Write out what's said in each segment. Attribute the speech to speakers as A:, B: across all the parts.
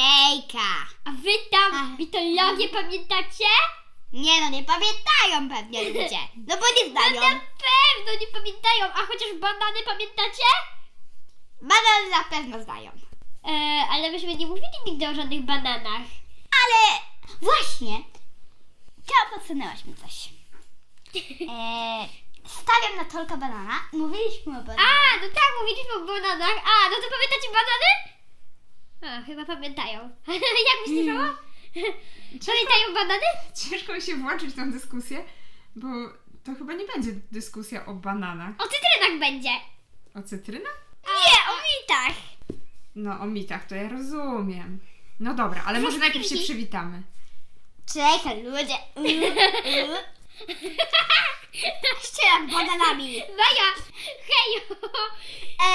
A: Jejka.
B: A wy tam
A: Ach.
B: mitologię pamiętacie?
A: Nie no, nie pamiętają pewnie ludzie. No bo nie
B: No
A: znają.
B: na pewno nie pamiętają, a chociaż banany pamiętacie?
A: Banan na pewno znają.
B: E, ale myśmy nie mówili nigdy o żadnych bananach.
A: Ale właśnie, to podsunęłaś mi coś. Eee, stawiam na tolka banana. Mówiliśmy o bananach.
B: A, no tak, mówiliśmy o bananach. A, no to pamiętacie banany? A, chyba pamiętają. Jak myślisz,
C: Mm.
B: mama? Pamiętają banany?
C: Ciężko mi się włączyć w tę dyskusję, bo to chyba nie będzie dyskusja o bananach.
B: O cytrynach będzie.
C: O cytrynach?
A: Nie, o mitach.
C: No, o mitach, to ja rozumiem. No dobra, ale może najpierw się przywitamy.
A: Czekaj, ludzie. Ścieram bananami.
B: Maja, hej!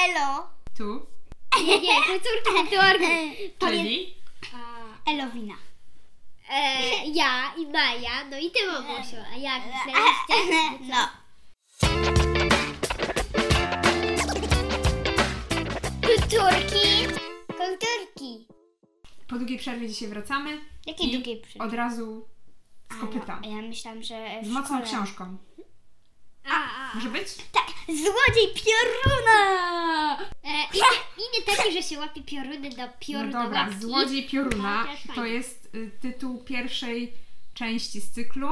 A: Elo.
C: Tu,
B: Nie, nie, to córka Dorny.
A: Pamię-
C: czyli
A: Elowina.
B: E, ja i Maja, no i ty, mamusiu. A jak myśleliście?
A: No.
B: Kulturki. Kulturki.
C: po długiej przerwie dzisiaj wracamy.
A: Jakiej
C: i
A: drugiej przyczyn?
C: Od razu z kopyta.
A: Ja myślałam, że. w
C: Z mocną
A: szkole.
C: książką.
B: A, a.
C: Może być? No
A: Tak, złodziej pioruna!
B: E, i, I nie taki, że się łapie pioruny do
C: No
B: piorun do
C: dobra,
B: łapki.
C: Złodziej Pioruna
B: Tak, też
C: to
B: fajnie.
C: jest y, tytuł pierwszej części z cyklu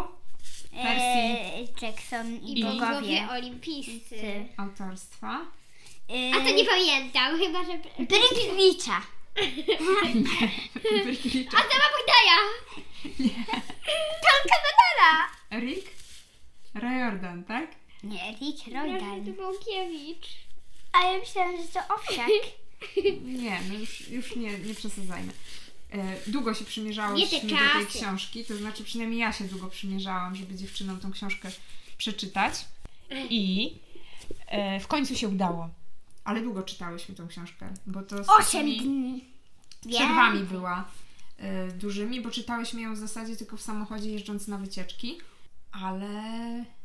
C: wersji
A: Eee, Jackson i,
B: I bogowie
A: bogowie.
B: olimpijscy.
C: autorstwa.
A: Eee,
B: A to nie pamiętam, chyba że...
A: Brygwicza.
C: Brygicza.
B: A to ma Bogdaja!
A: Tonka Badala.
C: Rick Riordan, tak?
A: Nie, Rick
B: Każdy
A: Roydan.
B: Bąkiewicz.
A: A ja myślałam, że to owsiak.
C: Nie, no już, już nie, nie przesadzajmy. E, Długo się
B: Nie te
C: przymierzałyśmy do tej
B: czasy.
C: książki, to znaczy przynajmniej ja się długo przymierzałam, żeby dziewczynom tą książkę przeczytać. I e, w końcu się udało. Ale długo czytałyśmy tą książkę, bo to z
A: Osiem
C: takimi
A: dni.
C: przerwami była e, dużymi, bo czytałyśmy ją w zasadzie tylko w samochodzie jeżdżąc na wycieczki, ale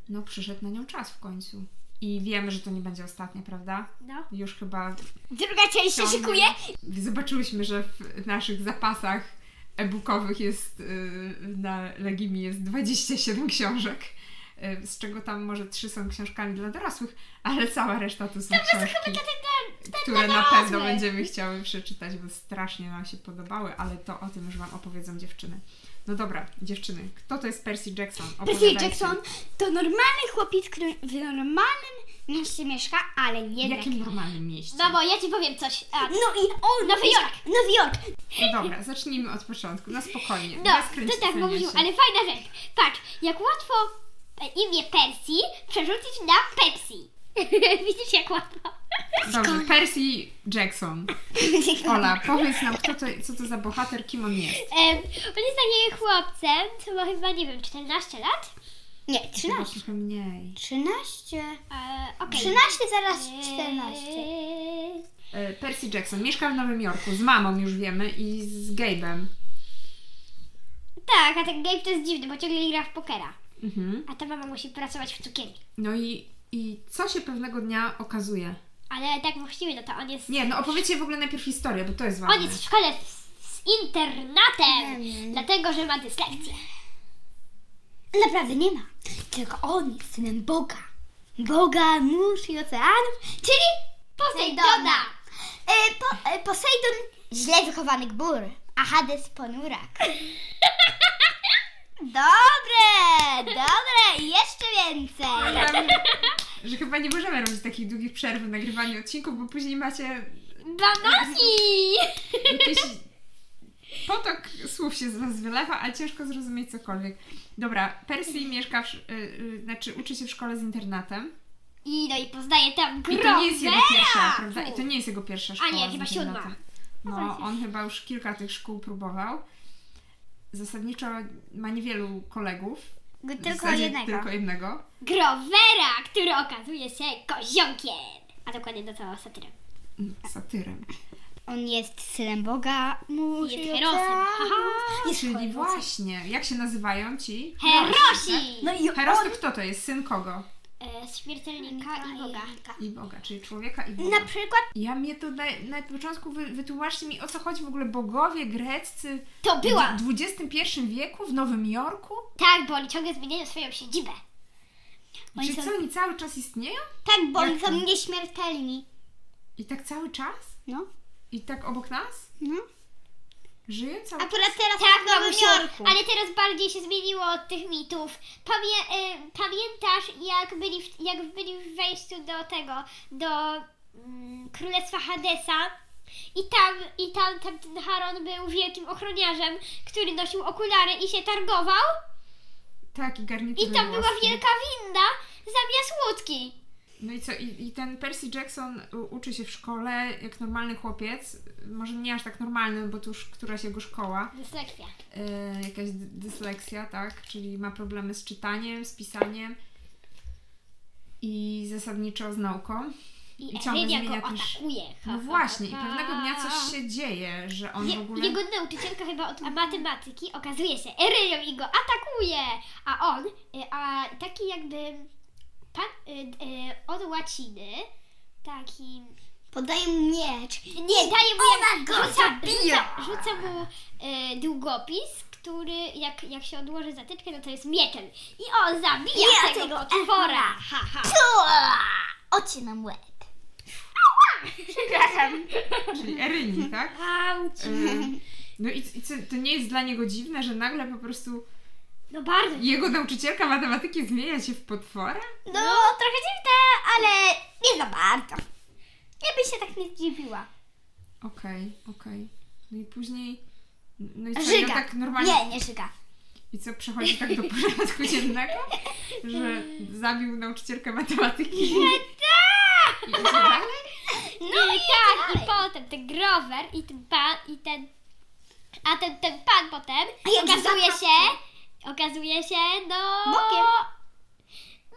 C: no przyszedł na nią czas w końcu. I wiemy, że to nie będzie ostatnia, prawda?
B: No.
C: Już chyba
A: Druga część się
C: Ciągle.
A: szykuje.
C: Zobaczyłyśmy, że w naszych zapasach e-bookowych jest y, na Legimi jest 27 książek, y, z czego tam może trzy są książkami dla dorosłych, ale cała reszta to są książki, które na pewno będziemy chciały przeczytać, bo strasznie nam się podobały, ale to o tym już Wam opowiedzą dziewczyny. No dobra, dziewczyny, kto to jest Percy Jackson?
A: Percy
C: Opowiadajcie.
A: Jackson to normalny chłopiec, który w normalnym mieście mieszka, ale
C: W
A: jednak...
C: jakim normalnym mieście?
B: Mamo, No ja ci powiem coś. A,
A: No i on...
B: Nowy
A: mieszka-
B: Jork.
A: Nowy Jork.
C: No dobra, zacznijmy od początku, na spokojnie.
B: No,
C: bez kręcić
B: to tak
C: cenia
B: mówił,
C: się.
B: ale fajna rzecz. Patrz, jak łatwo e, imię Persji przerzucić na Pepsi. Widzisz, jak łatwo.
C: Dobrze, Percy Jackson. Ola, powiedz nam, kto to, co to za bohater, kim on jest.
B: Em, on jest takim chłopcem, co ma chyba, nie wiem, 14 lat?
A: Nie,
C: Chyba
A: 13.
C: trochę mniej.
A: 13.
B: E, okej.
A: 13 zaraz 14.
B: Eee,
C: E, Percy Jackson mieszka w Nowym Jorku z mamą, już wiemy, i z Gabe'em.
B: Tak, a ten Gabe to jest dziwny, bo ciągle gra w pokera.
C: Mhm.
B: A ta mama musi pracować w cukierni.
C: No i, i co się pewnego dnia okazuje?
B: Ale tak właściwie, no to on jest...
C: Nie, no opowiedzcie w ogóle najpierw historię, bo to jest
B: On
C: ważne.
B: jest w szkole w, z internatem,
A: Mm.
B: dlatego że ma dyslekcję.
A: Naprawdę nie ma. Tylko on jest synem Boga. Boga, mórz i oceanów, czyli
B: Posejdona!
A: e, po, e, Posejdon źle wychowanych bór, a Hades ponurak. Dobre, dobre i jeszcze więcej.
C: Wiem, Że chyba nie możemy robić takich długich przerw w nagrywaniu odcinków, bo później macie
B: Banani!
C: jakiś potok słów się z was wylewa, a ciężko zrozumieć cokolwiek. Dobra, Percy mieszka, w, sz- y, y, znaczy uczy się w szkole z internatem.
B: I no i poznaje tam
C: I
B: grobę.
C: to nie jest jego pierwsza, prawda? I to nie jest jego pierwsza szkoła.
B: nie, chyba
C: z internatem.
B: siódma.
C: No, on chyba już kilka tych szkół próbował. Zasadniczo ma niewielu kolegów.
A: Go
C: W
A: Tylko
C: zasadzie
A: jednego.
C: Tylko jednego.
B: Grovera, który okazuje się koziołkiem. A dokładnie do całego satyrem.
C: Tak? Satyrem.
A: On jest synem Boga, mórz
B: Jest
A: i
B: herosem.
A: oceanów.
B: Haha.
A: Jest
C: Czyli
A: herosem.
C: właśnie, jak się nazywają ci? tak?
B: Herosi!
A: No i
C: Heros
A: on
C: to kto to jest? Syn kogo?
B: E, e, z śmiertelnika i Boga.
C: I Boga, czyli człowieka i Boga.
A: Na przykład
C: Ja mnie to na, na początku wy, wytłumaczcie mi, o co chodzi w ogóle bogowie greccy
B: To była!
C: w XXI wieku w Nowym Jorku?
B: Tak, bo oni ciągle zmieniają swoją siedzibę. Oni
C: Czy
B: są-
C: co, oni cały czas istnieją?
A: tak, bo oni
C: Jak
A: są
C: to?
A: nieśmiertelni.
C: I tak cały czas?
A: No.
C: I tak obok nas?
A: no.
C: Żyje cały czas?
A: Akurat teraz
B: Tak,
A: w Nowym
B: mamusiu,
A: Jorku.
B: ale teraz bardziej się zmieniło od tych mitów. Pamię, y, pamiętasz, jak byli, w, jak byli w wejściu do tego, do mm, Królestwa Hadesa i tam, i tam, tam ten Haron był wielkim ochroniarzem, który nosił okulary i się targował
C: Tak, i
B: i
C: garnitury
B: tam była
C: włoskie.
B: wielka winda zamiast łódki.
C: No i co, i, i ten Percy Jackson u- uczy się w szkole jak normalny chłopiec, może nie aż tak normalny, bo to już któraś jego szkoła,
B: Dyslekcja.
C: e, jakaś dy- dysleksja, tak? Czyli ma problemy z czytaniem, z pisaniem i zasadniczo z nauką.
B: I,
C: I
B: I
C: ciągle zmienia
B: go
C: też-
B: atakuje. Ha, ha,
C: No właśnie, i
B: ha,
C: pewnego dnia
B: ha.
C: coś się dzieje, że on
B: Je,
C: w ogóle.
B: Jego nauczycielka chyba od matematyki okazuje się Eryją i go atakuje, a on, y, a taki jakby pan, y, y, od łaciny, taki...
A: Podaję mu miecz.
B: Nie, daje mu
A: ona go zabija!
B: Rzuca, rzuca mu y, długopis, który jak, jak się odłoży zatyczkę, no to jest mieczem. I on zabija
A: Ja
B: tego,
A: tego
B: potwora.
A: Efra.
B: Ha, ha.
A: Tua! Odcinam łeb. Przepraszam.
C: Czyli Eryni, tak?
B: Auć.
C: E, No i, i co, to nie jest dla niego dziwne, że nagle po prostu
B: No bardzo.
C: jego nauczycielka matematyki zmienia się w potwora?
A: No, trochę dziwne, ale nie za bardzo. Ja bym się tak nie zdziwiła.
C: Okej, okej. No i później. No i co, i on
A: Żyga.
C: tak normalnie.
A: Nie, nie żyga.
C: I co, przechodzi tak do porządku dziennego? Że zabił nauczycielkę matematyki. Nie, tak! I idzie dalej?
B: No i tak, i potem ten Grover i ten pan, i ten, a ten, ten pan potem
A: A jak
B: okazuje
A: zapachnie?
B: się, okazuje się, no...
A: Bokiem.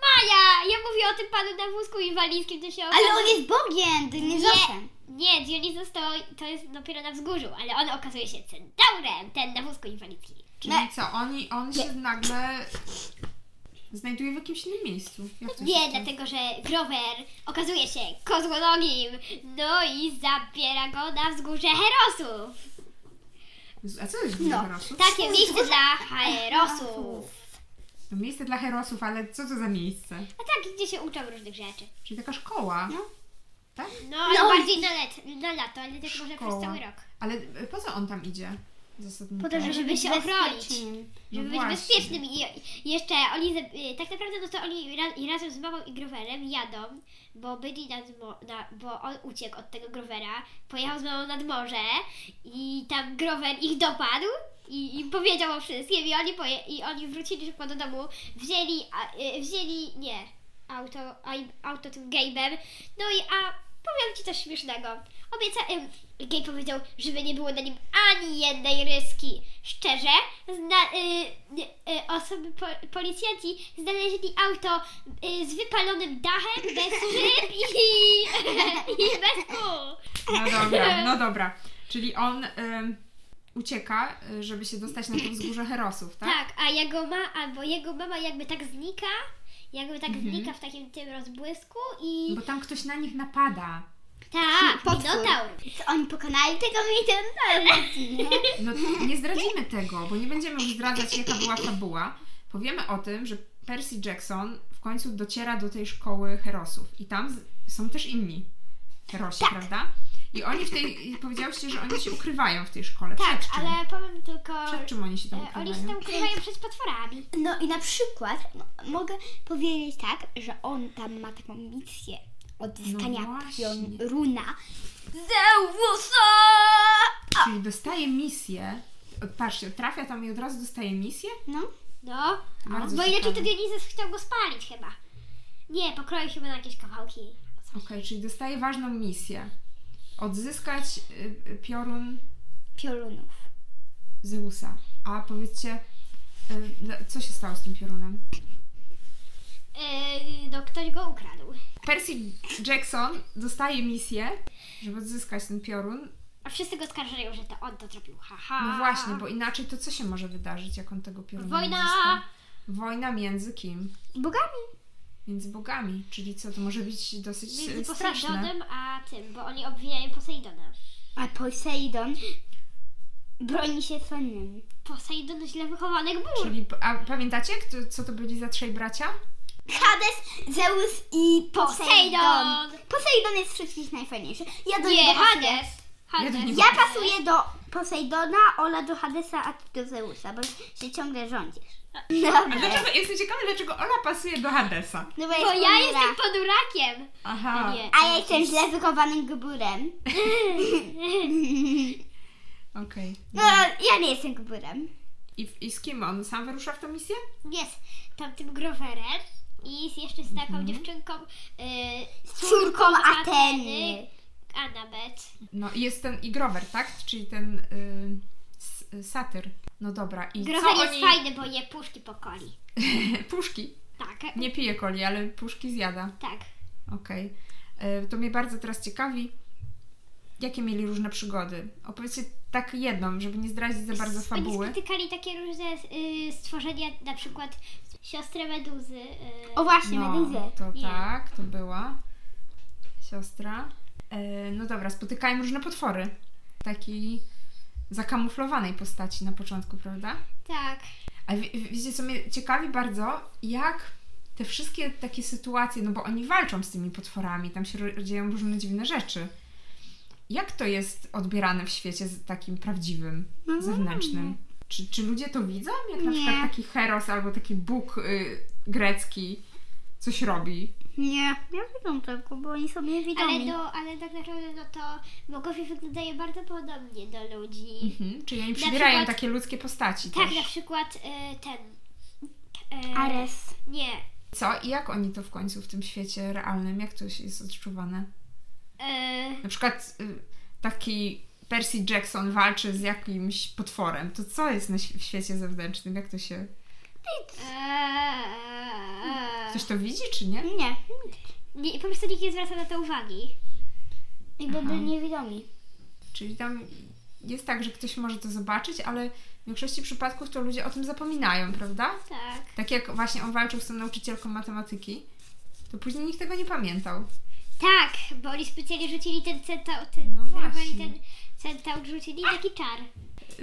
B: Maja! Ja mówię o tym panu na wózku i walizkim, to się
A: Ale on jest Bogiem, to nie Zosem.
B: Nie, Dionysos to, to jest dopiero na wzgórzu, ale on okazuje się centaurem, ten na wózku inwalidzkim.
C: Czyli
A: Nie.
C: co, on, on się nagle znajduje w jakimś innym miejscu. Jak to się
B: Nie, tak.
C: stało?
B: dlatego że Grover okazuje się kozłonogim, no i zabiera go na wzgórze Herosów.
C: A co to jest
A: No,
C: no, herosów?
B: Takie miejsce dla Herosów.
C: To Miejsce dla herosów, ale co to za miejsce?
B: A tak, gdzie się uczą różnych rzeczy.
C: Czyli taka szkoła.
A: No.
C: Tak?
B: No, ale
A: No.
B: bardziej na, let, na lato, ale też może
C: Szkoła.
B: przez cały rok.
C: Ale e, po co on tam idzie? Zasadniczo.
B: Po to, żeby
A: Żeby
B: się
A: się
B: ochronić.
A: ochronić.
B: Żeby być
C: No właśnie.
B: bezpiecznym i i jeszcze oni, ze- y, tak naprawdę no to oni ra, i razem z mamą i Groverem jadą, bo byli nad, mo- na, bo on uciekł od tego Grovera, pojechał z mamą nad morze i tam Grover ich dopadł i, i powiedział o wszystkim i oni, poje, i oni wrócili szybko do domu, wzięli, a, y, wzięli, nie, auto, a, im- auto tym Gabe'em, no i a powiem Ci coś śmiesznego. Obieca, ym, Gabe powiedział, żeby nie było na nim ani jednej ryski. Szczerze, zna, y, y, y, osoby, po, policjanci znaleźli auto y, z wypalonym dachem, bez szyb i, i bez kół.
C: No dobra, no dobra. Czyli on em, ucieka, e, żeby się dostać na to wzgórze herosów, tak?
B: Tak, a jego ma, albo jego mama jakby tak znika, jakby tak znika w takim tym rozbłysku i
C: Mhm. Bo tam ktoś na nich napada.
B: tak,
A: potwór.
B: minotaur.
A: Co, Oni pokonali tego mitę?
C: No nie zdradzimy tego, bo nie będziemy już zdradzać, jaka była fabuła. Powiemy o tym, że Percy Jackson w końcu dociera do tej szkoły herosów i tam z- są też inni herosi,
B: Tak.
C: prawda? I oni w tej, i powiedziałyście, że oni się ukrywają w tej szkole.
B: Tak,
C: Przed czym?
B: ale powiem tylko,
C: Przed czym oni się tam
B: e,
C: ukrywają?
B: oni się tam ukrywają przed potworami.
A: No i na przykład no, mogę powiedzieć tak, że on tam ma taką misję odzyskania
C: No właśnie.
A: pioruna Zeusa!
C: Czyli dostaje misję, patrzcie, trafia tam i od razu dostaje misję?
A: No,
B: No,
C: Bardzo
B: bo inaczej
C: ciekawe.
B: to Dionizes chciał go spalić chyba. Nie, pokroił chyba na jakieś kawałki.
C: Okej, czyli dostaje ważną misję. Odzyskać y, y, piorun
A: piorunów.
C: Zeusa. A powiedzcie, y, dla- co się stało z tym piorunem?
B: Yy, no, ktoś go ukradł.
C: Percy Jackson dostaje misję, żeby odzyskać ten piorun.
B: A wszyscy go skarżają, że to on to zrobił. Haha.
C: No właśnie, bo inaczej to co się może wydarzyć, jak on tego pioruna nie
B: Wojna!
C: odzyska? Wojna między kim?
A: Bogami.
C: między bogami, czyli co, to może być dosyć
B: Między
C: e, straszne.
B: Posejdonem a tym, bo oni obwiniają Posejdona.
A: A Poseidon broni się słonnym.
B: Posejdon źle wychowanych bór.
C: Czyli, a pamiętacie, kto, co to byli za trzej bracia?
A: Hades, Zeus i Poseidon.
B: Posejdon.
A: Poseidon jest wszystkich najfajniejszy. Ja do
B: Nie,
A: niego pasuję.
B: Hades. Hades.
C: do niego
A: Ja pasuję do Posejdona, Ola do Hadesa, a ty do Zeusa, bo się ciągle rządzisz.
C: A
A: Dobra.
C: dlaczego, jestem ciekawa, dlaczego Ola pasuje do Hadesa.
A: No bo,
B: Bo
A: jest
B: ja
A: ponura.
B: jestem podurakiem.
C: Aha,
B: Nie.
A: A ja jestem źle wychowanym gburem.
C: okej.
A: No, ja nie jestem gburem.
C: I, I z kim on sam wyrusza w tę misję?
B: Jest tamtym Groverem i jest jeszcze z taką
C: Mhm.
B: dziewczynką, y, yy,
A: Z córką Ateny.
B: Anabet.
C: No i jest ten i Grover, tak? Czyli ten y, s, satyr. No dobra, i
B: Grover
C: co
B: jest
C: oni...
B: fajny, bo je puszki pokoli.
C: Puszki.
B: Tak,
C: Nie pije coli, ale puszki zjada.
B: tak.
C: Okej. Y, To mnie bardzo teraz ciekawi, jakie mieli różne przygody. Opowiedzcie tak jedną, żeby nie zdradzić za bardzo fabuły.
B: Oni spotykali takie różne y, stworzenia, na przykład siostrę Meduzy. y,
A: O właśnie,
C: No,
A: Meduzę.
C: to
B: Nie.
C: tak, to była siostra. E, no dobra, spotykałem różne potwory. Takiej zakamuflowanej postaci na początku, prawda?
B: tak.
C: A wie, wie- wiecie, co mnie ciekawi bardzo, jak te wszystkie takie sytuacje, no bo oni walczą z tymi potworami, tam się ro- dzieją różne dziwne rzeczy. Jak to jest odbierane w świecie z- takim prawdziwym,
B: Mhm.
A: No
C: zewnętrznym? Czy, czy ludzie to widzą? Jak na
A: Nie.
C: przykład taki Heros albo taki Bóg y, grecki coś robi?
A: Nie, ja widzą tylko, bo oni są
B: Ale,
A: niewidomi.
B: do, ale tak naprawdę no to bogowie wyglądają bardzo podobnie do ludzi.
C: Mhm. Czyli oni przybierają
B: przykład-
C: takie ludzkie postaci
B: Tak, na
C: też.
B: przykład y, ten. y,
A: Ares.
B: Nie.
C: Co i jak oni to w końcu w tym świecie realnym, jak to się jest odczuwane?
B: y,
C: Na przykład y, taki Percy Jackson walczy z jakimś potworem. To co jest na świ- w świecie zewnętrznym? Jak to się.
B: eee,
C: Ktoś to widzi, czy nie?
A: Nie,
B: nie, po prostu nikt nie zwraca na to uwagi.
A: jakby
C: Aha.
A: byli niewidomi.
C: Czyli tam jest tak, że ktoś może to zobaczyć, ale w większości przypadków to ludzie o tym zapominają, prawda?
B: Tak.
C: Tak jak właśnie on walczył z tą nauczycielką matematyki, to później nikt tego nie pamiętał.
B: Tak, bo oni specjalnie rzucili ten centaur, ten,
C: No
B: zerwali
C: właśnie.
B: ten centaur, rzucili taki czar.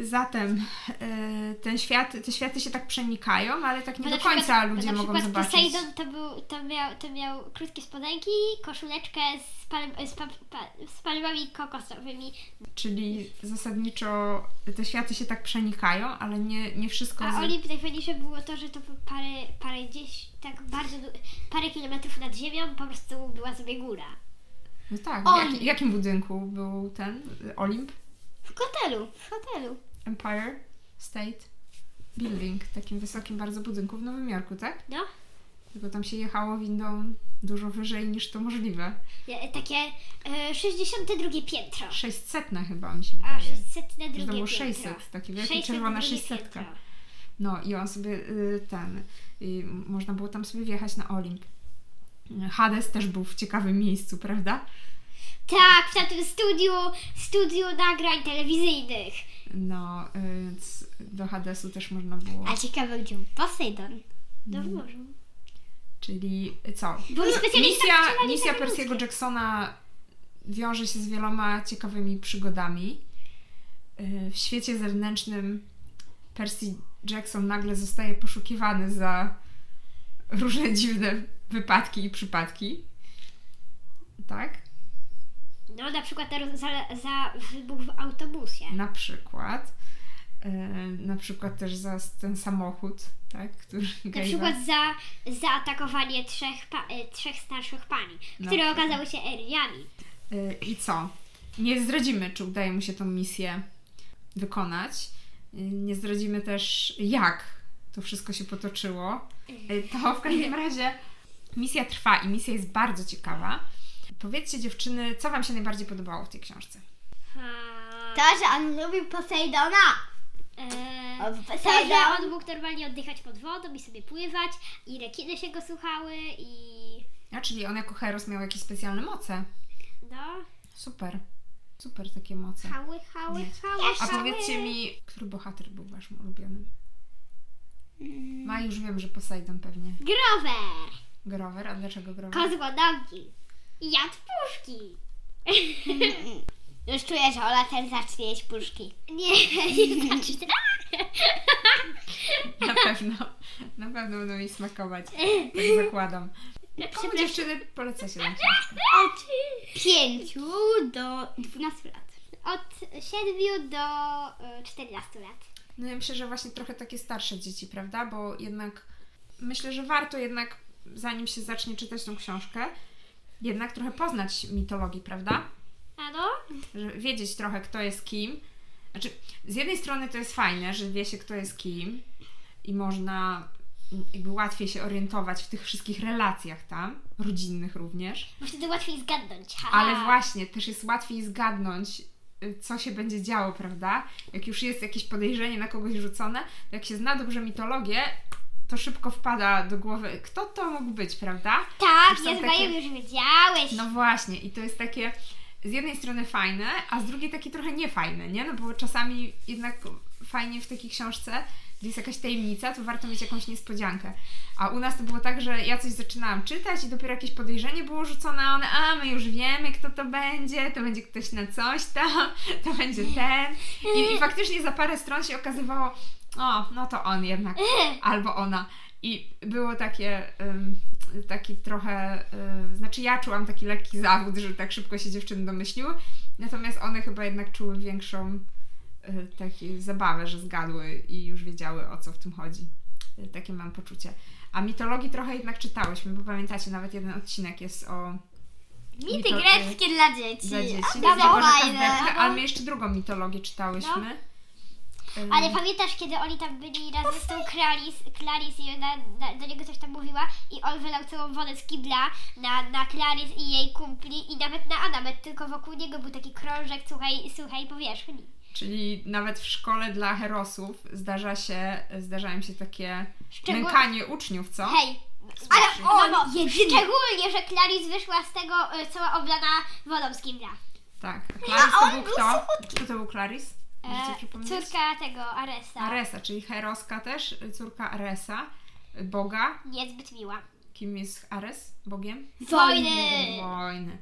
C: Zatem y, ten świat, te światy się tak przenikają, ale tak nie
B: Bo
C: do
B: No na
C: końca
B: przykład- bo
C: ludzie
B: na
C: mogą
B: przykład
C: zobaczyć.
B: Poseidon to, był, to, miał, to miał krótkie spodenki, koszuleczkę z, palm, z, pa, pa, z palmami kokosowymi.
C: Czyli zasadniczo te światy się tak przenikają, ale nie, nie wszystko.
B: A
C: z-
B: Olimp najfajniejsze było to, że to parę, parę gdzieś, tak bardzo, du- parę kilometrów nad ziemią po prostu była sobie góra.
C: No tak.
A: Olimp.
C: Jak, w jakim budynku był ten y, Olimp?
A: W hotelu, w hotelu.
C: Empire State Building, takim wysokim bardzo budynku w Nowym Jorku, tak?
B: No,
C: Tylko tam się jechało windą dużo wyżej niż to możliwe.
B: E, takie e, 62 piętro.
C: 600 chyba mi się
B: A
C: wydaje.
B: 602
C: Że to
B: piętro.
C: było 600, takie wielkie
B: 602
C: czerwona
B: piętro.
C: 600. No i on sobie y, ten. Y, można było tam sobie wjechać na Olimp. Hades też był w ciekawym miejscu, prawda?
B: Tak, w tamtym studiu, studiu nagrań telewizyjnych.
C: No, y, c- do Hadesu też można było.
A: A ciekawe, gdzie był Poseidon.
B: No
C: Mhm.
B: w morzu.
C: Czyli co?
B: Bo no, specjalista
C: Misja, misja Percy'ego Jacksona wiąże się z wieloma ciekawymi przygodami. Y, W świecie zewnętrznym Percy Jackson nagle zostaje poszukiwany za różne dziwne wypadki i przypadki. Tak?
B: No na przykład teraz za, za wybuch w autobusie.
C: Na przykład. Y, Na przykład też za ten samochód, tak? Który
B: Na przykład
C: tak.
B: za zaatakowanie trzech, pa, e, trzech starszych pani,
C: Na
B: które
C: przykład.
B: okazały się Eriami.
C: Y, I co? Nie zdradzimy, czy udaje mu się tą misję wykonać. Y, Nie zdradzimy też, jak to wszystko się potoczyło. Y, To w każdym razie misja trwa i misja jest bardzo ciekawa. Powiedzcie, dziewczyny, co Wam się najbardziej podobało w tej książce?
B: Ha,
A: To, że on lubił Poseidona.
B: e,
A: Od
B: to, że
A: Poseidon.
B: on mógł normalnie oddychać pod wodą i sobie pływać i rekiny się go słuchały i
C: A, czyli on jako Heros miał jakieś specjalne moce.
B: no,
C: Super. Super takie moce.
B: hały, hały,
C: Nie.
B: hały,
C: A
B: hały.
C: powiedzcie mi, który bohater był Waszym ulubionym? Ma już wiem, że Poseidon pewnie.
B: Grover!
C: Grover? A dlaczego Grover?
B: Kozłonogi. I jadł puszki.
A: Już czuję, że Ola też zacznie jeść puszki. tak.
B: Nie, nie znaczy.
C: Na pewno. Na pewno będą mi smakować. Tak zakładam. Komu dziewczyny poleca się tę książkę?
A: Od pięciu do 12 lat.
B: Od 7 do y, 14 lat.
C: No ja myślę, że właśnie trochę takie starsze dzieci, prawda? Bo jednak myślę, że warto jednak, zanim się zacznie czytać tą książkę, jednak trochę poznać mitologii, prawda?
B: A no?
C: Że wiedzieć trochę, kto jest kim. Znaczy, z jednej strony to jest fajne, że wie się, kto jest kim i można mm, jakby łatwiej się orientować w tych wszystkich relacjach tam, rodzinnych również.
B: Bo wtedy łatwiej zgadnąć. Ha.
C: Ale właśnie, też jest łatwiej zgadnąć, y, co się będzie działo, prawda? Jak już jest jakieś podejrzenie na kogoś rzucone, to jak się zna dobrze mitologię, to szybko wpada do głowy, kto to mógł być, prawda?
B: Tak,
C: Już są
B: ja chyba
C: takie-
B: już wiedziałeś.
C: No właśnie, i to jest takie z jednej strony fajne, a z drugiej takie trochę niefajne, nie? No bo czasami jednak fajnie w takiej książce, gdzie jest jakaś tajemnica, to warto mieć jakąś niespodziankę. A u nas to było tak, że ja coś zaczynałam czytać i dopiero jakieś podejrzenie było rzucone, a one, a my już wiemy, kto to będzie, to będzie ktoś na coś tam, to będzie ten. I, i faktycznie za parę stron się okazywało, o, no to on jednak, albo ona. I było takie, ym, taki trochę, y, znaczy ja czułam taki lekki zawód, że tak szybko się dziewczyny domyśliły, natomiast one chyba jednak czuły większą y, taką zabawę, że zgadły i już wiedziały o co w tym chodzi. Y, Takie mam poczucie. A mitologii trochę jednak czytałyśmy, bo pamiętacie, nawet jeden odcinek jest o
A: Mity
C: Mito-
A: greckie dla dzieci.
C: tak dla dzieci. tak
A: A,
C: to
A: bardzo
C: Boża
A: fajne.
C: Kazderka, ale my jeszcze drugą mitologię czytałyśmy. Ym,
B: No. Ale pamiętasz, kiedy oni tam byli razem z tą Clarice, Clarice i ona na, do niego coś tam mówiła i on wylał całą wodę z kibla na, na Clarice i jej kumpli i nawet na Anabet, tylko wokół niego był taki krążek słuchaj, słuchaj powierzchni.
C: Czyli nawet w szkole dla herosów zdarza się, zdarzają się takie
B: Szczegół-
C: nękanie uczniów, co?
B: Hej! Ale o, no, szczególnie, że Clarice wyszła z tego y, cała oblana wodą z kibla.
C: Tak. A Clarice to
A: on
C: był
A: był
C: kto? Kto to był Clarice? Możecie
B: E,
C: przypomnieć?
B: córka tego Aresa.
C: Aresa, czyli heroska też, córka Aresa, boga.
B: Niezbyt miła.
C: Kim jest Ares? Bogiem?
A: Wojny.
B: Wojny!
C: Wojny.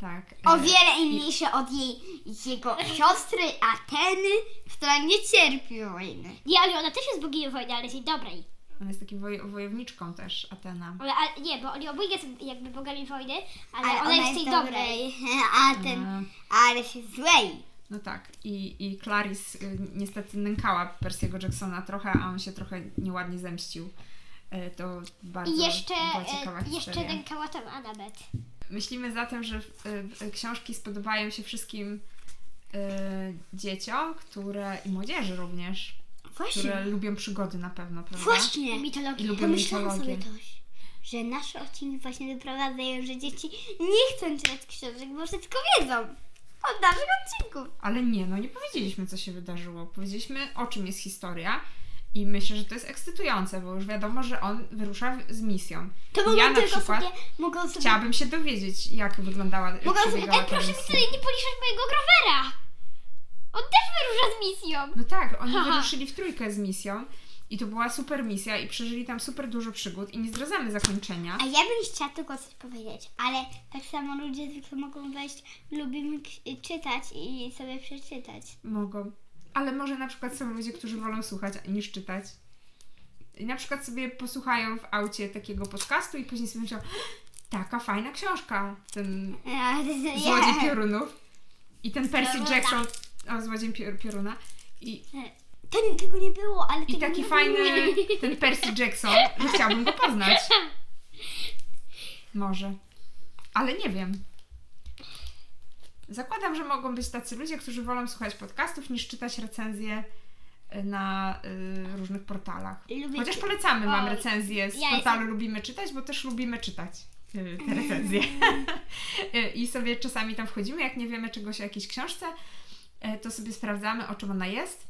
C: Tak.
A: O
C: E,
A: wiele inniejsze od jej, jego siostry Ateny, która nie cierpi wojny.
B: Nie, ale ona też jest boginią wojny, ale jest jej dobrej.
C: Ona E, jest taką woj- wojowniczką też, Atena.
B: Ona, a, nie, bo oni obojga są jakby bogami wojny, ale,
A: Ale
B: ona, jest tej dobrej.
A: Aten,
C: E,
A: ale się złej.
C: No tak, i, i Clarice y, niestety nękała Persiego Jacksona trochę, a on się trochę nieładnie zemścił. E, To bardzo
B: I jeszcze,
C: była ciekawa
B: e, jeszcze
C: historia.
B: nękała tam Anabet.
C: Myślimy zatem, że y, y, książki spodobają się wszystkim y, dzieciom, które i młodzieży również, które
A: Właśnie,
C: lubią przygody na pewno, prawda?
A: właśnie.
C: I
B: Mitologia.
C: lubią
A: Pomyślałam
C: mitologię.
A: sobie coś, że nasze odcinki właśnie doprowadzają, że dzieci nie chcą czytać książek, bo wszystko wiedzą od naszych odcinków.
C: Ale nie, no nie powiedzieliśmy, co się wydarzyło. Powiedzieliśmy, o czym jest historia. I myślę, że to jest ekscytujące, bo już wiadomo, że on wyrusza w- z misją.
A: To
C: I
A: mogą
C: ja na
A: tylko
C: przykład
A: sobie, mogą sobie...
C: Chciałabym się dowiedzieć, jak wyglądała
A: Mogę
C: przebiegała
A: sobie-
C: ta
B: Ej, e, proszę mi
C: misja.
B: tutaj nie policzać mojego growera! On też wyrusza z misją!
C: No tak, oni
B: Haha.
C: wyruszyli w trójkę z misją i to była super misja i przeżyli tam super dużo przygód i nie zdradzamy zakończenia.
A: A ja bym chciała tylko coś powiedzieć, ale tak samo ludzie zwykle mogą wejść, lubimy k- czytać i sobie przeczytać.
C: Mogą. Ale może na przykład są ludzie, którzy wolą słuchać niż czytać. I na przykład sobie posłuchają w aucie takiego podcastu i później sobie myślą, taka fajna książka, ten Złodziej Piorunów. I ten Percy
B: Pioruna.
C: Jackson, o, Złodziej Pior- Pioruna. I
A: To nie- tego nie było, ale
C: I
A: tego
C: taki
A: nie
C: fajny
A: było.
C: ten Percy Jackson, że chciałabym go poznać. Może. Ale nie wiem. Zakładam, że mogą być tacy ludzie, którzy wolą słuchać podcastów niż czytać recenzje y, na y, różnych portalach.
A: Lubię
C: Chociaż
A: czy-
C: polecamy, mam
B: Oj,
C: recenzje z
B: ja
C: portalu Lubimy Czytać, bo też lubimy czytać y, te recenzje. Y, I sobie czasami tam wchodzimy, jak nie wiemy czegoś o jakiejś książce, y, to sobie sprawdzamy, o czym ona jest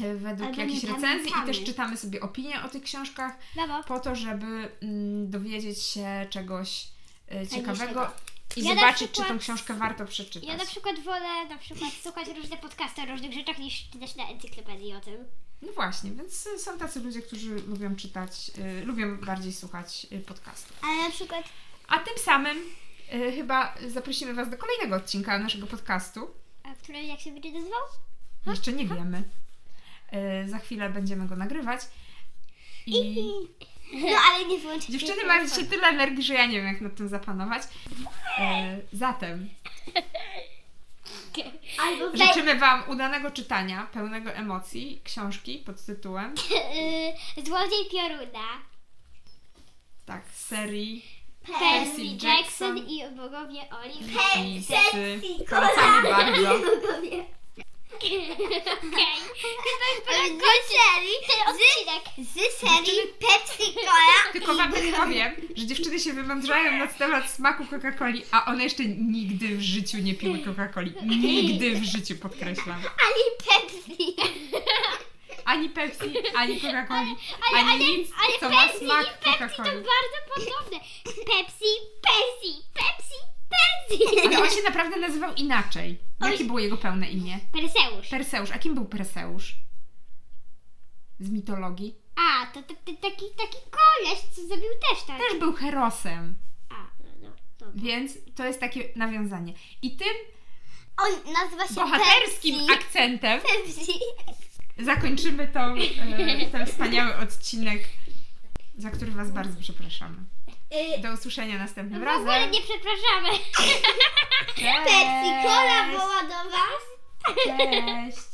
C: y, według
A: Albo nie
C: jakichś recenzji i
A: pamiętamy.
C: też czytamy sobie opinie o tych książkach
B: Mamo,
C: po to, żeby mm, dowiedzieć się czegoś y, e, ciekawego i
B: Ja na
C: zobaczyć,
B: przykład-
C: czy tą książkę warto przeczytać.
B: Ja na przykład wolę na przykład słuchać różne podcasty o różnych rzeczach niż czytać na encyklopedii o tym.
C: No właśnie, więc y, są tacy ludzie, którzy lubią czytać, y, lubią bardziej słuchać y, podcastów.
A: Ale na przykład
C: A tym samym y, chyba zaprosimy Was do kolejnego odcinka naszego podcastu.
B: A który jak się będzie nazywał?
C: Jeszcze nie wiemy. Y, za chwilę będziemy go nagrywać. I
A: No ale nie wyłączcie.
C: dziewczyny mają dzisiaj tyle energii, że ja nie wiem, jak nad tym zapanować. Y, zatem
A: Albo
C: życzymy Wam udanego czytania, pełnego emocji, książki pod tytułem
B: Yy, Złodziej pioruna.
C: tak, serii
B: Percy
C: Percy
B: Jackson
C: Jackson.
B: i bogowie Oliver.
C: i z
A: Percy
C: polecamy
A: no
C: bardzo.
A: Z
B: Okej.
A: serii,
B: Odcinek.
A: z serii Pepsi Cola.
C: Tylko wam powiem, że dziewczyny się wymądrzają na temat smaku Coca-Coli, a one jeszcze nigdy w życiu nie piły Coca-Coli. Nigdy w życiu, podkreślam.
A: Ani Pepsi.
C: Ani Pepsi, ani Coca-Coli,
B: ale-
C: ani
B: ale-
C: nic,
B: ale
C: co ma
B: Pepsi i
C: smak
B: To
C: Coca-Coli.
B: bardzo podobne. Pepsi, Pepsi, Pepsi, Pepsi.
C: Ale on się naprawdę nazywał inaczej. Jakie było jego pełne imię?
B: Perseusz.
C: Perseusz. A kim był Perseusz? Z mitologii.
B: A, to, to, to taki, taki koleś, co zabił też tak.
C: Też był Herosem,
B: A, no, no. dobra.
C: więc to jest takie nawiązanie. I tym
A: On nazywa się
C: bohaterskim
A: Pepsi.
C: akcentem
A: Pepsi.
C: zakończymy tą, e, ten wspaniały odcinek, za który Was bardzo przepraszamy.
A: Y,
C: Do usłyszenia następnym
B: W ogóle
C: razem.
B: nie przepraszamy.
A: Pepsi Cola
C: Cześć!
A: woła do was.
C: Cześć!